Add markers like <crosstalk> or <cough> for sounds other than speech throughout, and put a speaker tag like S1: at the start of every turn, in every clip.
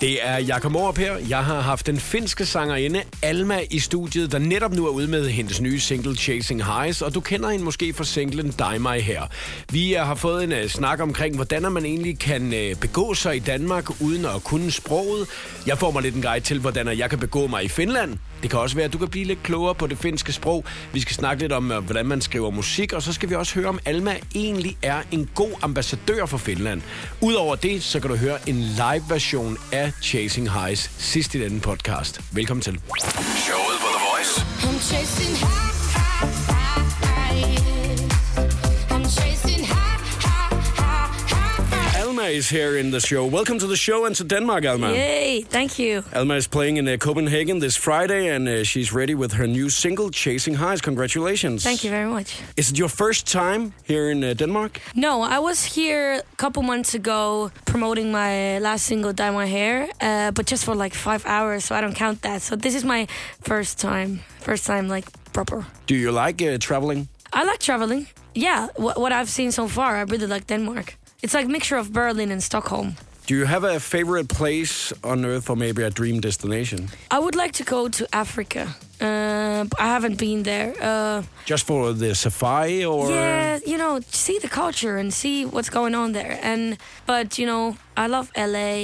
S1: Det er Jakob Orup her. Jeg har haft den finske sangerinde Alma i studiet, der netop nu er ude med hendes nye single Chasing Highs, og du kender hende måske fra singlen Die My her. Vi øh, har fået en uh, snak omkring, hvordan man egentlig kan uh, begå sig i Danmark uden at kunne sproget. Jeg får mig lidt en guide til, hvordan øh, jeg kan begå mig i Finland. Det kan også være, at du kan blive lidt klogere på det finske sprog. Vi skal snakke lidt om, øh, hvordan man skriver musik, og så skal vi også høre, om Alma egentlig er en god ambassadør for Finland. Udover det, så kan du høre en live-version af Chasing Highs sidst i denne podcast. Velkommen til.
S2: Showet på The Voice.
S3: I'm chasing high, high, high, I'm chasing high, high, high, high.
S1: Alma is here in the show. Welcome to the show and to Denmark, Alma.
S4: Yay, thank you.
S1: Alma is playing in uh, Copenhagen this Friday, and uh, she's ready with her new single, Chasing Highs. Congratulations.
S4: Thank you very much.
S1: Is it your first time here in uh, Denmark?
S4: No, I was here a couple months ago promoting my last single, Dye My Hair, uh, but just for like five hours, so I don't count that. So this is my first time, first time like proper.
S1: Do you like uh, traveling?
S4: I like traveling. Yeah, wh- what I've seen so far, I really like Denmark. It's like mixture of Berlin and Stockholm.
S1: Do you have a favorite place on earth or maybe a dream destination?
S4: I would like to go to Africa. Uh, but I haven't been there. Uh,
S1: Just for the safari or
S4: yeah you know see the culture and see what's going on there and but you know i love la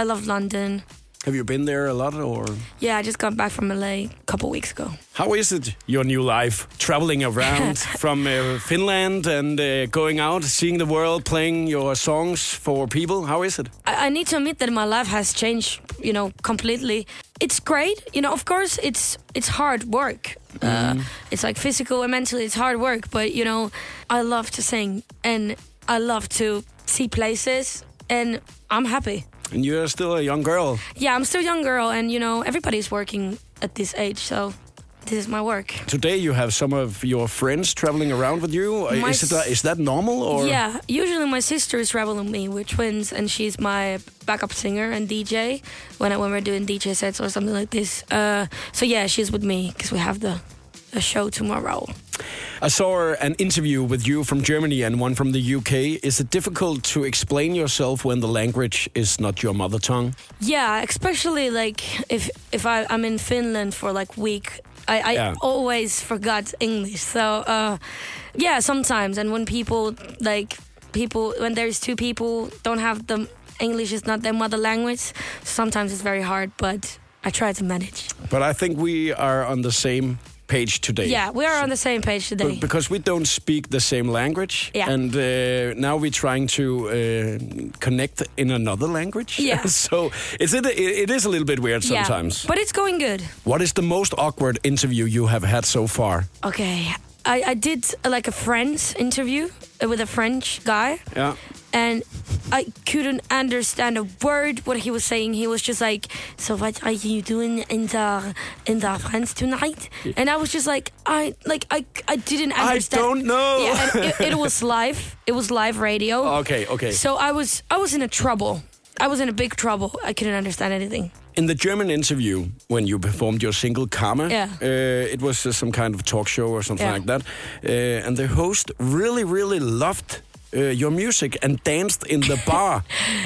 S4: i love london
S1: have you been there a lot or
S4: yeah i just got back from la a couple weeks ago
S1: how is it your new life traveling
S4: <laughs>
S1: around from uh, Finland and uh, going out seeing the world playing your songs for people how is it
S4: I, I need to admit that my life has changed you know completely it's great you know of course it's it's hard work uh, it's like physical and mentally it's hard work but you know i love to sing and i love to see places and i'm happy
S1: and you're still a young girl
S4: yeah, I'm still a young girl, and you know everybody's working at this age, so this is my work.
S1: today you have some of your friends traveling around with you
S4: My
S1: is it uh, is that normal or
S4: Yeah, usually my sister is traveling with me. We're twins, and she's my backup singer and DJ when I, when we're doing DJ sets or something like this. Uh, so yeah, she's with me because we have the a show tomorrow.
S1: I saw an interview with you from Germany and one from the UK is it difficult to explain yourself when the language is not your mother tongue
S4: Yeah, especially like if if I, I'm in Finland for like week, I, I
S1: Yeah.
S4: always forgot English. So uh, yeah, sometimes and when people like people when there's two people don't have the English is not their mother language. Sometimes it's very hard, but I try to manage.
S1: But I think we are on the same page today.
S4: Yeah, we are on the same page
S1: B-
S4: today.
S1: Uh, Because we don't speak the same language,
S4: Yeah.
S1: and uh, now we're trying to uh, connect in another language.
S4: Yeah.
S1: <laughs> so it's it, it is a little bit weird
S4: Yeah,
S1: sometimes.
S4: but it's going good.
S1: what is the most awkward interview you have had so far?
S4: Okay, I, I did uh, like a friend's interview uh, with a French guy.
S1: Yeah,
S4: and I couldn't understand a word what he was saying. He was just like, "So what are you doing in the in the France tonight?" And I was just like, "I like I I didn't
S1: I
S4: understand."
S1: don't know.
S4: Yeah,
S1: <laughs>
S4: and it, it was live. It was live radio.
S1: Okay, okay.
S4: So I was I was in a trouble. I was in a big trouble. I couldn't understand anything.
S1: in the German interview when you performed your single "Karma,"
S4: Yeah.
S1: uh, it was uh, some kind of talk show or something
S4: Yeah.
S1: like that, uh, and the host really, really loved. Uh, your music and danced in
S4: <laughs>
S1: the bar.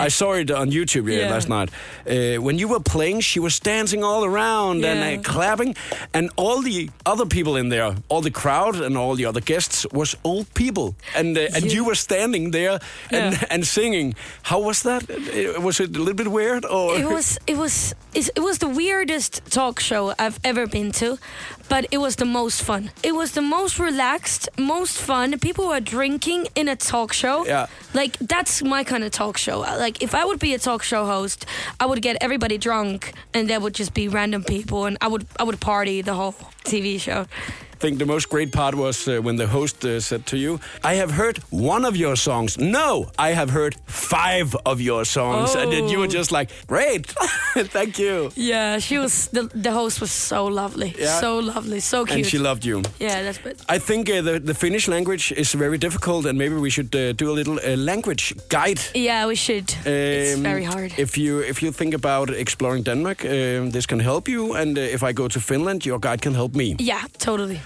S1: I saw it on YouTube yeah,
S4: Yeah.
S1: last night. Uh, when you were playing, she was dancing all around
S4: Yeah.
S1: and uh, clapping, and all the other people in there, all the crowd and all the other guests, was old people, and uh, and
S4: Yeah.
S1: you were standing there and,
S4: Yeah.
S1: and singing. How was that? Uh, Was it a little bit weird? Or
S4: It was it was it's- it was the weirdest talk show I've ever been to, but it was the most fun. It was the most relaxed, most fun. People were drinking in a talk show.
S1: Yeah.
S4: like that's my kind of talk show. Like if I would be a talk show host, I would get everybody drunk, and there would just be random people, and I would I would party the whole TV show.
S1: think the most great part was uh, when the host uh, said to you, I have heard one of your songs. No, I have heard five of your songs. And then you were
S4: Oh.
S1: just like, great, <laughs> thank you.
S4: Yeah, she was the the host was so lovely,
S1: Yeah.
S4: so lovely, so cute.
S1: And she loved you.
S4: yeah, that's good.
S1: I think uh, the, the Finnish language is very difficult, and maybe we should uh, do a little uh, language guide.
S4: Yeah, we should. it's
S1: Um,
S4: very hard.
S1: If you if you think about exploring Denmark, um, this can help you. And uh, if I go to Finland, your guide can help me.
S4: yeah, totally.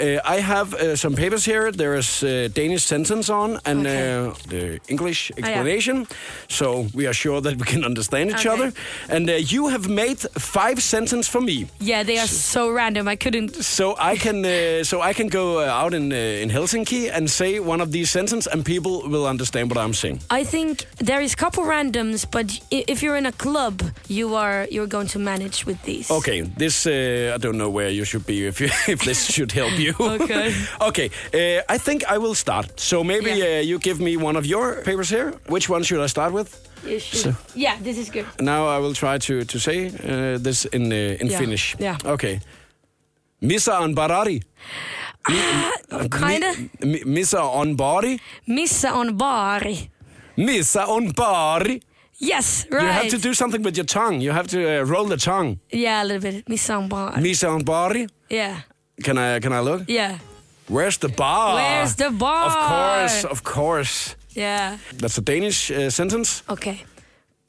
S2: Uh, I have uh, some papers here. There is uh, Danish sentence on and
S4: Okay. Oh,
S2: uh, the English
S4: yeah.
S2: explanation, so we are sure that we can understand each
S4: Okay.
S2: other. And uh, you have made five sentences for me,
S4: Yeah, they are so random. I couldn't.
S2: so I can uh, so I can go uh, out in uh, in Helsinki and say one of these sentences, and people will understand what I'm saying.
S4: I think there is couple randoms, but i- if you're in a club, you are you're going to manage with these.
S2: Okay, this uh, I don't know where you should be if you, <laughs> if this should help you.
S4: <laughs> Okay.
S2: <laughs> okay. Uh, I think I will start. So maybe
S4: Yeah.
S2: uh, you give me one of your papers here. Which one should I start with?
S4: You should- yeah, this is good.
S2: Now I will try to to say uh, this in uh, in
S4: Yeah,
S2: Finnish.
S4: yeah.
S2: Okay. Missa on Barari. Uh,
S4: Kinda.
S2: Mi, missa on Bari.
S4: Missa on bar.
S2: Missa on Bari.
S4: Yes, right.
S2: You have to do something with your tongue. You have to uh, roll the tongue.
S4: Yeah, a little bit. Missa on bar.
S2: Missa on Bari.
S4: yeah,
S2: Can I can I look?
S4: yeah,
S2: Where's the bar?
S4: Where's the bar?
S2: Ah, Of course, of course.
S4: yeah.
S2: That's a Danish uh, sentence.
S4: Okej.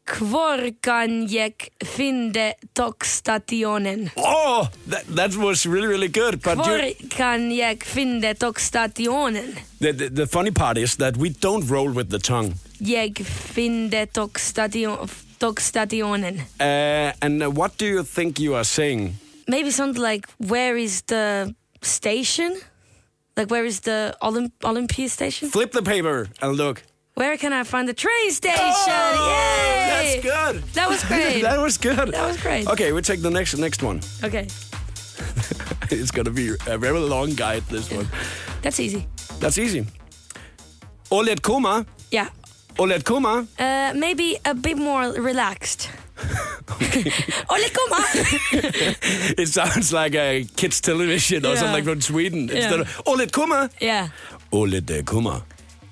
S4: Kvar kan jag finna tågstationen?
S2: Oh, that, that was really, really good. But you,
S4: Kvar kan jag finna tågstationen?
S2: the, the, the funny part is that we don't roll with the tongue.
S4: Jag finner tågstation, tågstationen.
S2: Uh, and uh, what do you think you are saying?
S4: Maybe something like, where is the station? Like, where is the Olymp- Olympia station?
S2: Flip the paper and look.
S4: Where can I find the train station?
S2: Oh, That's
S4: Yay!
S2: good.
S4: That
S2: <laughs>
S4: was great.
S2: that was good.
S4: That was great.
S2: Okay, we take the next next one. <laughs>
S4: okay,
S2: It's gonna be a very long guide. This one.
S4: that's easy.
S2: That's easy. Olet Kuma.
S4: Yeah.
S2: Olet Kuma.
S4: Uh, maybe a bit
S2: <laughs>
S4: more relaxed. Ole, kom on!
S2: It sounds like a kids television or
S4: Yeah.
S2: something from Sweden.
S4: Yeah.
S2: Instead of Olet Kuma.
S4: yeah.
S2: Olet Kuma.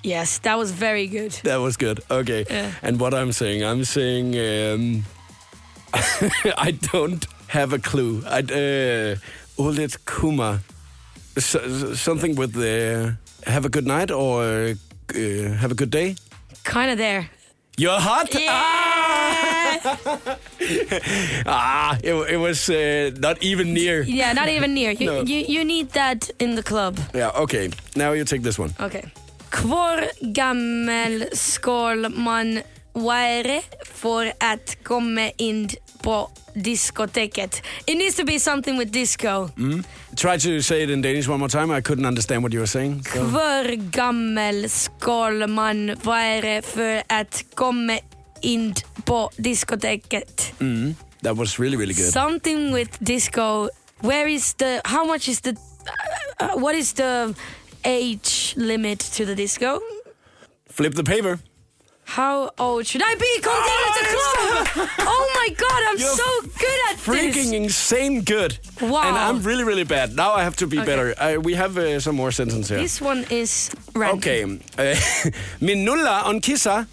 S4: Yes, that was very good.
S2: That was good. Okay.
S4: Yeah.
S2: And what I'm saying, I'm saying um, <laughs> I don't have a clue. I uh, Ulit Kuma, S- s- something with the have a good night or uh, have a good day.
S4: Kind of there.
S2: You're hot.
S4: Yeah.
S2: Ah, it, it was uh, not even near.
S4: yeah, not even near. You,
S2: No.
S4: you, you need that in the club.
S2: Yeah. Okay. Now you take this one.
S4: Okay. Hvor gammel skal man være for at komme in på diskoteket? It needs to be something with disco.
S2: Mm. Try to say it in Danish one more time. I couldn't understand what you were saying. so-
S4: Hvor gammel skal man være for at komme in på diskoteket?
S2: That was really, really good.
S4: Something with disco. Where is the? How much is the? Uh, uh, what is the age limit to the disco?
S2: Flip the paper.
S4: How old should I be? Come down at the club! <laughs> oh my god, I'm
S2: Oh, You're
S4: so good at
S2: freaking
S4: this.
S2: insane good.
S4: Wow.
S2: And I'm really, really bad. Now I have to be
S4: Okay.
S2: better. I, we have uh, some more sentences here.
S4: This one is random.
S2: okay. Uh, <laughs> Minulla on kissa.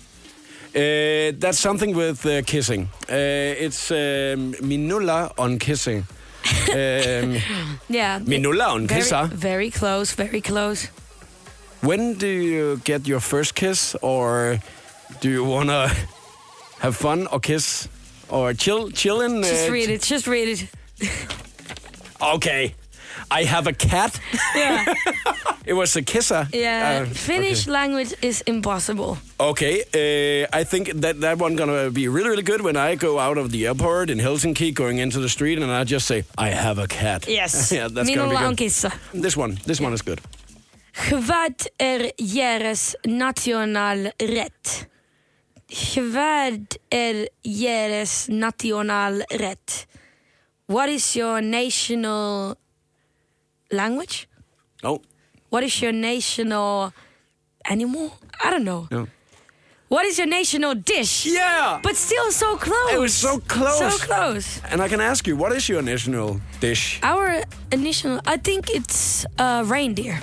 S2: Uh, that's something with uh, kissing. Uh, it's um, minulla on kissing. um,
S4: Yeah.
S2: minulla on
S4: Very,
S2: kissa.
S4: very close. Very close.
S2: When do you get your first kiss, or do you wanna <laughs> have fun or kiss or chill, chillin?
S4: Just
S2: uh,
S4: read it. Just read it.
S2: Okay, I have a cat.
S4: Yeah.
S2: <laughs> It was a kisser.
S4: Yeah,
S2: Uh,
S4: Finnish language is impossible.
S2: Okay, uh, I think that that one gonna be really really good when I go out of the airport in Helsinki, going into the street, and I just say I have a cat. <laughs> <laughs> yeah, that's
S4: Minulla
S2: gonna
S4: on
S2: be
S4: kissa.
S2: good. This one, this one is good.
S4: Vad är er Jeres nationalrätt? Vad är er Jeres nationalrätt? What is your national language?
S2: Oh,
S4: What is your national animal? I don't know.
S2: no.
S4: What is your national dish?
S2: yeah.
S4: But still so close.
S2: It was so close.
S4: So close.
S2: and I can ask you, what is your national dish?
S4: Our initial, I think it's uh, reindeer.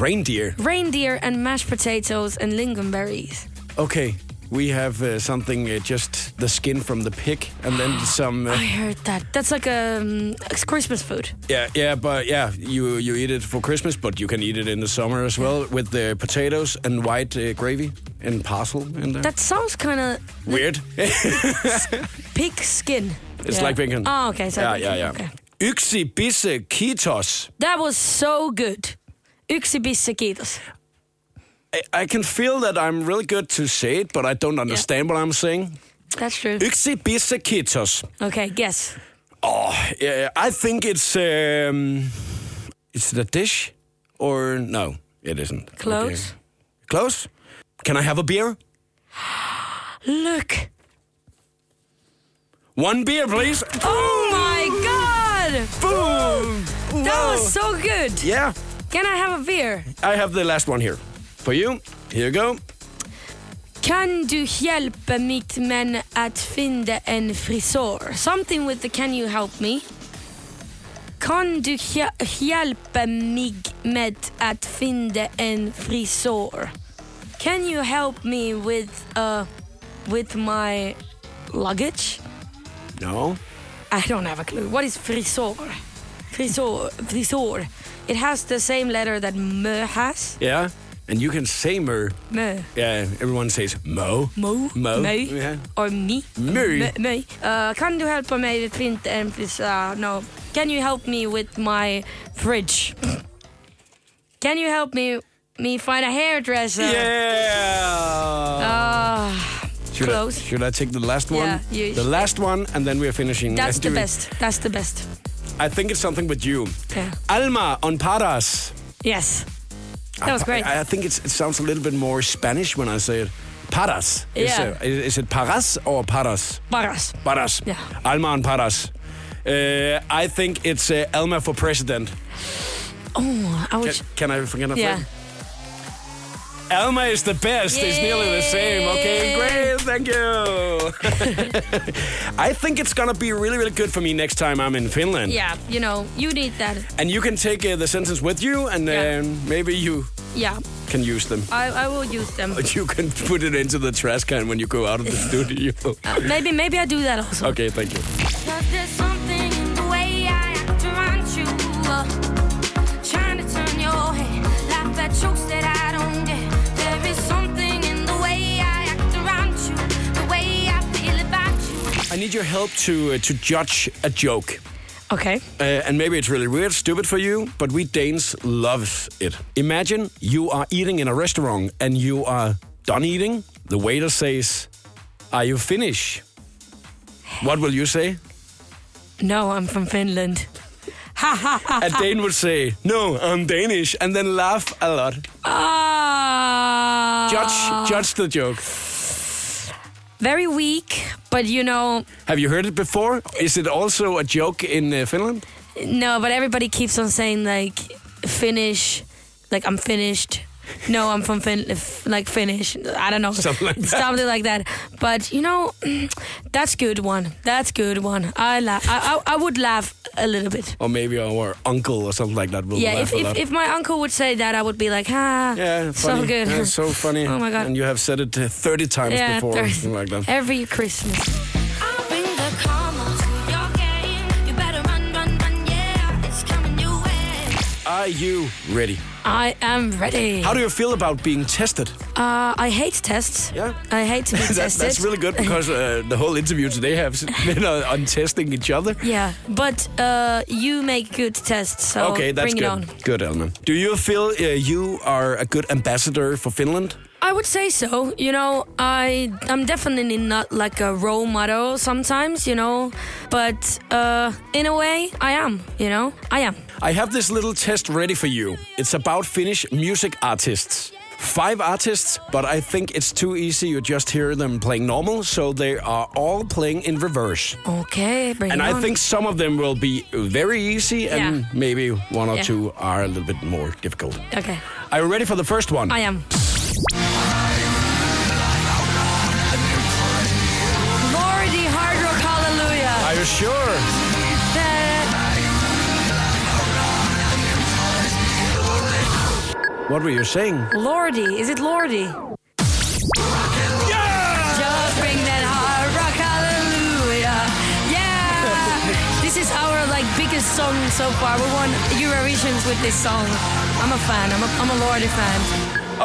S2: Reindeer.
S4: reindeer and mashed potatoes and lingonberries.
S2: Okay, we have uh, something uh, just the skin from the pig, and
S4: <gasps>
S2: then some. Uh,
S4: I heard that. That's like a um, it's Christmas food.
S2: Yeah, yeah, but yeah, you you eat it for Christmas, but you can eat it in the summer as well with the potatoes and white uh, gravy and parcel in there.
S4: That sounds kind of
S2: weird. <laughs> it's
S4: pig skin.
S2: like bacon.
S4: Oh, okay. So er
S2: yeah, yeah, yeah.
S4: Okay.
S2: Yksi Bisse Kitos.
S4: That was so good. Yksibisekitos.
S2: I, I can feel that I'm really good to say it, but I don't understand what I'm saying.
S4: That's true.
S2: Yksi Bisse Kitos.
S4: Okay, guess.
S2: Oh, yeah, I think it's um, it's the dish, or no, it isn't.
S4: Close.
S2: Okay. Close. Can I have a beer?
S4: Look.
S2: One beer, please.
S4: Oh my god!
S2: Boom!
S4: That was so good.
S2: Yeah,
S4: Can I have a beer?
S2: I have the last one here for you. Here you go.
S4: Kan du hjälpa mitt män att finna en frisör? Something with the can you help me? Kan du hjä- hjälpa mig med att finna en frisör? Can you help me with uh with my luggage?
S2: No.
S4: I don't have a clue. What is frisör? Frisör, frisör. It has the same letter that mö has.
S2: Yeah. And you can say mer.
S4: Mö.
S2: Yeah, everyone says mo.
S4: Mo.
S2: Mo.
S4: Mig.
S2: Yeah.
S4: Or me.
S2: Mig.
S4: M- mig. Uh, kan du hjälpa mig att printa en frisör? uh, No. Can you help me with my fridge? <coughs> Can you help me me find a hairdresser?
S2: Yeah.
S4: Ah,
S2: should
S4: close.
S2: I, should I take the last one?
S4: Yeah, you-
S2: the last one, and then we are finishing.
S4: that's
S2: Let's do
S4: the
S2: it.
S4: best. That's the best.
S2: I think it's something with you.
S4: Okay.
S2: Alma on Paras.
S4: Yes. That was great.
S2: I, I think it's, it sounds a little bit more Spanish when I say it. Paras. Is,
S4: Yeah.
S2: uh, is, is it Paras or Paras?
S4: Barras.
S2: Paras.
S4: Yeah.
S2: Alma on Paras. Uh, I think it's uh, Alma for president.
S4: Oh, I
S2: Can,
S4: was.
S2: can I forget a
S4: Yeah.
S2: thing? Alma is the best. It's nearly the same. Okay,
S4: Yay.
S2: great. Thank you.
S4: <laughs>
S2: I think it's gonna be really, really good for me next time I'm in Finland.
S4: Yeah, you know, you need that.
S2: And you can take uh, the sentence with you, and
S4: Yeah.
S2: um, maybe you
S4: Yeah,
S2: can use them.
S4: I, I will use them.
S2: But you can <laughs> put it into the trash can when you go out of
S4: <laughs>
S2: the studio.
S4: Uh, maybe maybe I do that also.
S2: Okay, thank you.
S3: Cause there's something in the way I act around you. Uh, trying to turn your head, laugh at jokes that I don't get. There is something in the way I act around you, the way I feel about you.
S2: I need your help to uh, to judge a joke.
S4: Okay.
S2: Uh, and maybe it's really weird, stupid for you, but we Danes loves it. Imagine you are eating in a restaurant and you are done eating. The waiter says, "Are you finished?" What will you say?
S4: No, I'm from Finland. <laughs>
S2: A Dane would say, "No, I'm Danish," and then laugh a lot.
S4: Ah.
S2: Judge, judge the joke.
S4: Very weak, but you know,
S2: Have you heard it before? Is it also a joke in uh, Finland?
S4: no, but everybody keeps on saying like Finnish, like I'm finished. No, I'm from Fin, f- like Finnish. I don't know,
S2: <laughs> Something like that.
S4: Something like that. But you know, <clears throat> that's good one. That's good one. I laugh. I, I, I would laugh a little bit.
S2: or maybe our uncle or something like that will
S4: Yeah,
S2: laugh
S4: if,
S2: a lot.
S4: if, if my uncle would say that, I would be like, ah,
S2: yeah, funny.
S4: so good.
S2: Yeah,
S4: <laughs>
S2: so funny.
S4: Oh my God.
S2: And you have said it uh, 30 times
S4: Yeah,
S2: before,
S4: there-
S2: or something like that.
S4: Every Christmas.
S3: I'll bring the karma to your game. You better run, run, run, yeah, it's coming your way.
S2: Are you ready?
S4: I am ready.
S2: How do you feel about being tested? <laughs>
S4: Uh, I hate tests.
S2: Yeah.
S4: I hate to
S2: <laughs>
S4: be
S2: That,
S4: tested.
S2: that's really good
S4: <laughs>
S2: because uh, the whole interview today has <laughs> been on, on testing each other.
S4: Yeah, but uh, you make good tests, so
S2: okay, that's
S4: Oh, bring
S2: good.
S4: it on.
S2: Good, Elman. Do you feel uh, you are a good ambassador for Finland?
S4: I would say so. You know, I I'm definitely not like a role model sometimes, you know, but uh, in a way, I am. You know, I am.
S2: I have this little test ready for you. It's about Finnish music artists. Five artists, but I think it's too easy. You just hear them playing normal, so they are all playing in reverse.
S4: Okay, bring
S2: And
S4: it on.
S2: I think some of them will be very easy, and
S4: Yeah.
S2: maybe one or
S4: Yeah.
S2: two are a little bit more difficult.
S4: Okay,
S2: Are you ready for the first one?
S4: I am. Lordy, hard rock, hallelujah.
S2: Are you sure? What were you saying?
S4: Lordy, is it Lordy?
S2: Yeah!
S4: Just bring that hard rock, hallelujah. Yeah. this is our like biggest song so far. We won Eurovisions with this song. I'm a fan. I'm a, I'm a Lordy fan.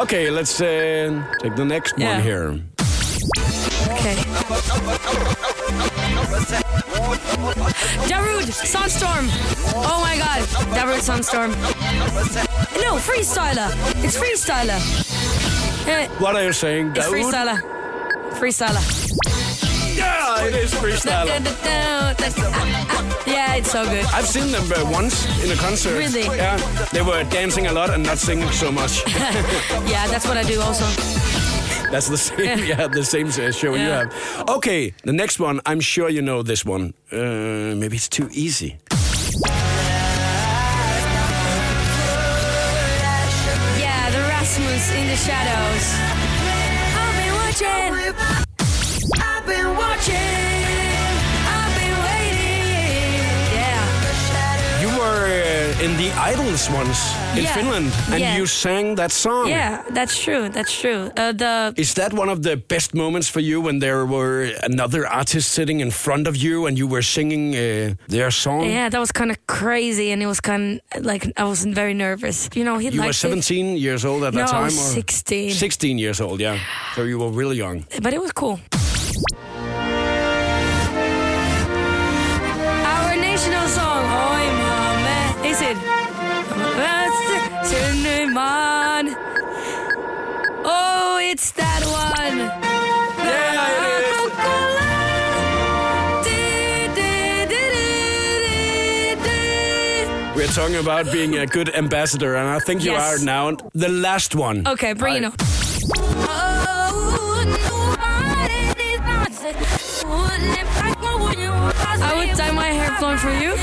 S2: Okay, let's uh, take the next
S4: Yeah.
S2: one here.
S4: Okay. Darude, Sunstorm. Oh my god, Darude, Sunstorm. No, Freestyler. It's Freestyler. Eh,
S2: What are you saying,
S4: It's
S2: Daoud?
S4: Freestyler. Freestyler.
S2: Yeah, it is freestyler.
S4: ah, Yeah, it's so good.
S2: I've seen them uh, once in a concert.
S4: Really?
S2: Yeah, they were dancing a lot and not singing so much.
S4: <laughs> Yeah, that's what I do also.
S2: That's the same. Yeah, the same uh, show you
S4: Yeah.
S2: have. Okay, the next one. I'm sure you know this one. Uh, maybe it's too easy.
S4: Yeah, the Rasmus in the shadows. I've been watching. I've been watching. I've been waiting. Yeah.
S2: You were uh, in the Idols once in
S4: Yeah.
S2: Finland, and
S4: Yeah.
S2: you sang that song.
S4: Yeah, that's true. That's true. Uh, the
S2: Is that one of the best moments for you when there were another artist sitting in front of you and you were singing uh, their song?
S4: yeah, that was kind of crazy, and it was kind of like I was very nervous. You know, he
S2: You
S4: liked
S2: were
S4: it,
S2: 17 years old at
S4: No,
S2: that
S4: I
S2: time?
S4: was 16.
S2: 16 years old, yeah. So you were really young.
S4: but it was cool. Our national song, Oi Mame, is it? Sunderman. Oh, it's that one.
S2: We're talking about being a good ambassador, and I think you
S4: Yes.
S2: are now. The last one.
S4: Okay, bring it up.
S3: Oh, I
S4: would dye my hair blonde for you.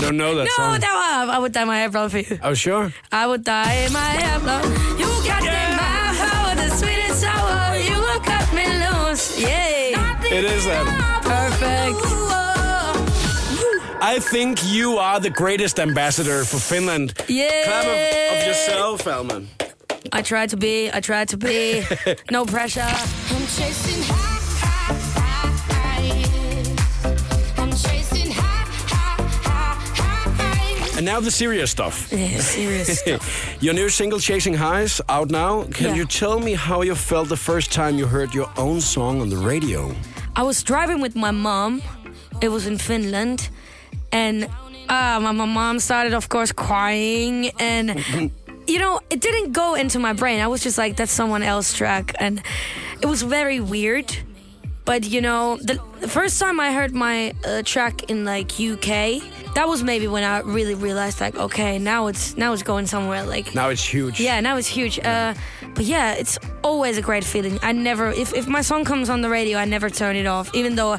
S2: Don't know that
S4: No,
S2: song.
S4: that one. I would dye my hair blonde for you.
S2: Oh, sure.
S4: I would dye my hair blonde. You got
S2: Yeah.
S4: me my heart, the sweet and sour. You will cut me loose. Yay!
S2: It is that.
S4: Perfect.
S2: I think you are the greatest ambassador for Finland.
S4: Yay!
S2: Clap of, of yourself, Alman.
S4: I tried to be. I tried to
S2: <laughs>
S4: be. no pressure.
S3: I'm chasing high, high, high, high. I'm chasing high, high, high, high.
S2: And now the serious
S4: <laughs>
S2: stuff.
S4: Yeah, serious.
S2: Your new single, Chasing Highs, out now. Can
S4: Yeah.
S2: you tell me how you felt the first time you heard your own song on the radio?
S4: I was driving with my mom. It was in Finland, and uh, my, my mom started, of course, crying. And you know, it didn't go into my brain. I was just like, "That's someone else's track," and it was very weird. But you know, the, the first time I heard my uh, track in like UK, that was maybe when I really realized, like, okay, now it's now it's going somewhere. Like
S2: Now it's huge.
S4: yeah, now it's huge. Uh, but yeah, it's always a great feeling. I never, if, if my song comes on the radio, I never turn it off, even though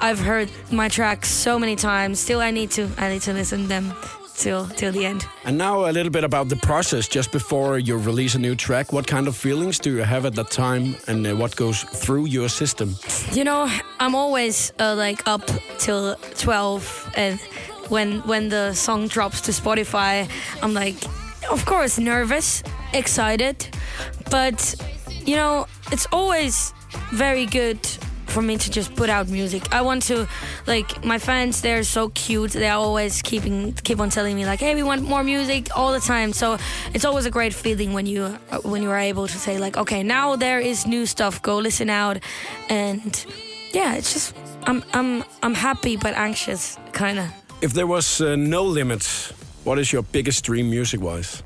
S4: I've heard my track so many times. Still, I need to, I need to listen to them till till the end.
S2: And now a little bit about the process just before you release a new track. What kind of feelings do you have at that time and uh, what goes through your system?
S4: You know, I'm always uh, like up till twelve, and when when the song drops to Spotify, I'm like, of course, nervous, excited, but you know, it's always very good for me to just put out music. I want to like my fans they're so cute. They're always keeping keep on telling me like, "Hey, we want more music all the time." So, it's always a great feeling when you when you are able to say like, "Okay, now there is new stuff. Go listen out." And yeah, it's just I'm I'm I'm happy but anxious kind of.
S2: If there was uh, no limits, what is your biggest dream music wise?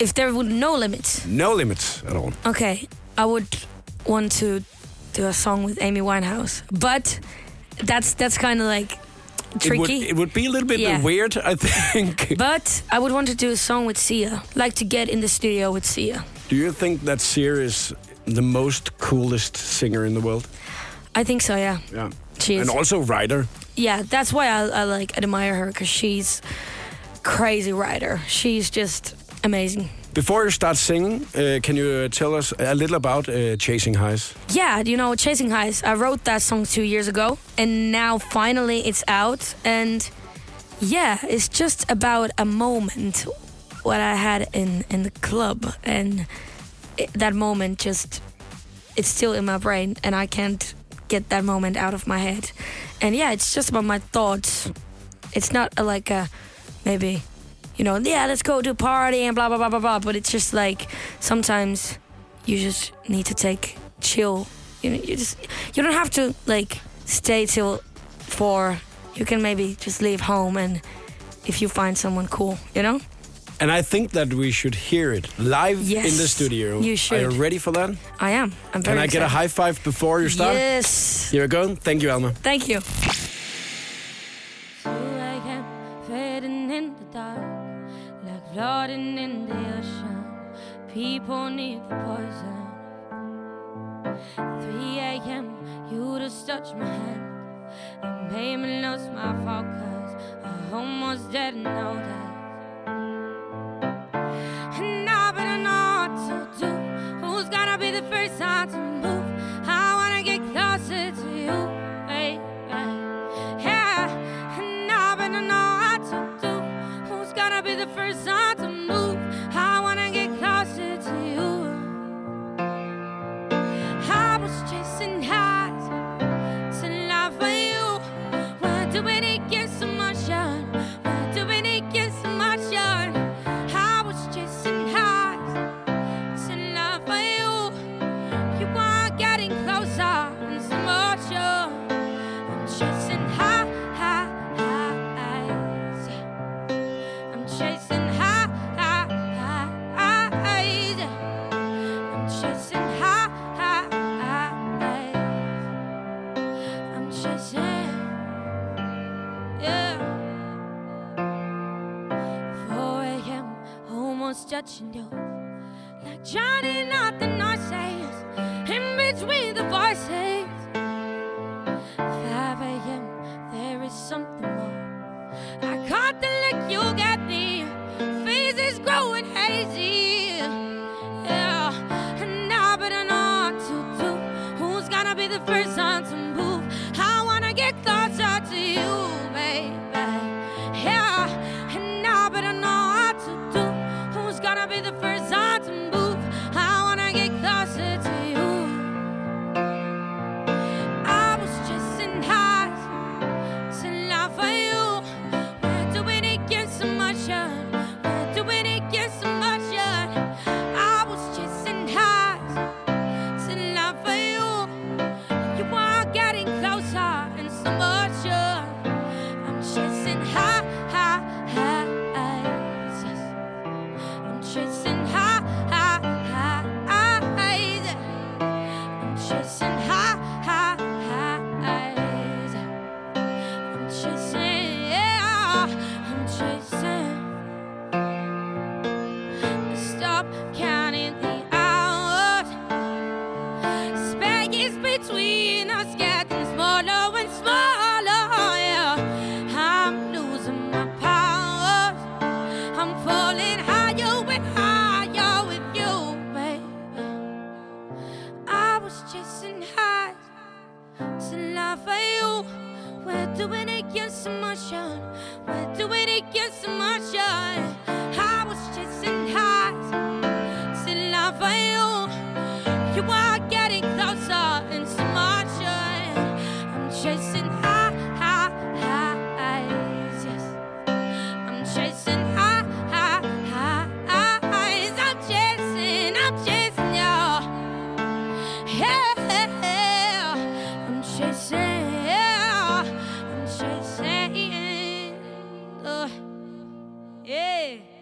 S4: If there would no limits.
S2: No limits at all.
S4: Okay, I would want to do a song with Amy Winehouse, but that's that's kind of like
S2: It would,
S4: tricky.
S2: it would be a little bit
S4: Yeah.
S2: weird, I <laughs> think.
S4: but I would want to do a song with Sia, like to get in the studio with Sia.
S2: do you think that Sia is the most coolest singer in the world?
S4: I think so, yeah.
S2: Yeah.
S4: She is.
S2: And also writer.
S4: yeah, that's why I, I like admire her because she's crazy writer. She's just amazing.
S2: Before you start singing, uh, can you uh, tell us a little about uh, Chasing Highs?
S4: Yeah, you know, Chasing Highs. I wrote that song two years ago, and now finally it's out. And yeah, it's just about a moment what I had in in the club, and it, that moment just it's still in my brain, and I can't get that moment out of my head. And yeah, it's just about my thoughts. It's not a, like a maybe, you know, yeah, let's go to a party and blah blah blah blah blah. But it's just like sometimes you just need to take chill. You know, you just you don't have to like stay till for you can maybe just leave home and if you find someone cool, you know?
S2: And I think that we should hear it live
S4: Yes,
S2: in the studio.
S4: you
S2: Are
S4: should.
S2: you ready for that?
S4: I am. I'm very
S2: Can I get a
S4: excited.
S2: high five before you start?
S4: Yes.
S2: Here we go. Thank you, Alma.
S4: Thank you.
S3: like I'm fading in the dark, like floating in the ocean. People need the poison. 3 a.m. You just touch my hand. It made me lose my focus. I almost didn't know that. And now but I know what to do. Who's gonna be the first one to move? I wanna get closer to you, baby. Yeah. And now but I know what to do. Who's gonna be the first one to move? I wanna get closer to you. I was chasing highs to love for you. Why do we need get so much on? Why do we need get so much on? I was chasing highs to love for you. You are getting closer and so much on. I'm chasing high, high, highs. I'm chasing high, high, highs. I'm chasing high, high, highs. I'm chasing, yeah. 4 a.m. almost touching you, like drowning out the noises in between the voices. 5 a.m. there is something more. I caught the look you got me. Face is growing hazy. Yeah, and now but I know what to do. Who's gonna be the first one to move? I wanna get closer to you, baby. Yeah, and now but I know what to do. Who's gonna be the first one to move? I wanna get closer to you. I was just in highs to love for you. Where do we need get so much on? Where do we need get so much on? I was just in highs to love for you. You are getting closer and so much on. I'm chasing high, high, highs. I'm chasing high, high, highs. I'm chasing high, high, highs. I'm chasing, yeah, I'm chasing. Stop counting the hours. Space between us getting smaller and smaller. Yeah, I'm losing my powers. I'm falling higher and higher with you, baby. I was chasing highs to love for you. We're doing it get so much on. We're doing it get so much on. I was chasing highs to love for you. You are getting closer and so much on. I'm chasing high, high, highs. Yes. I'm chasing high, high, highs. I'm chasing, I'm chasing you. Yeah, I'm chasing. Yeah, I'm chasing. Uh, Oh, yeah.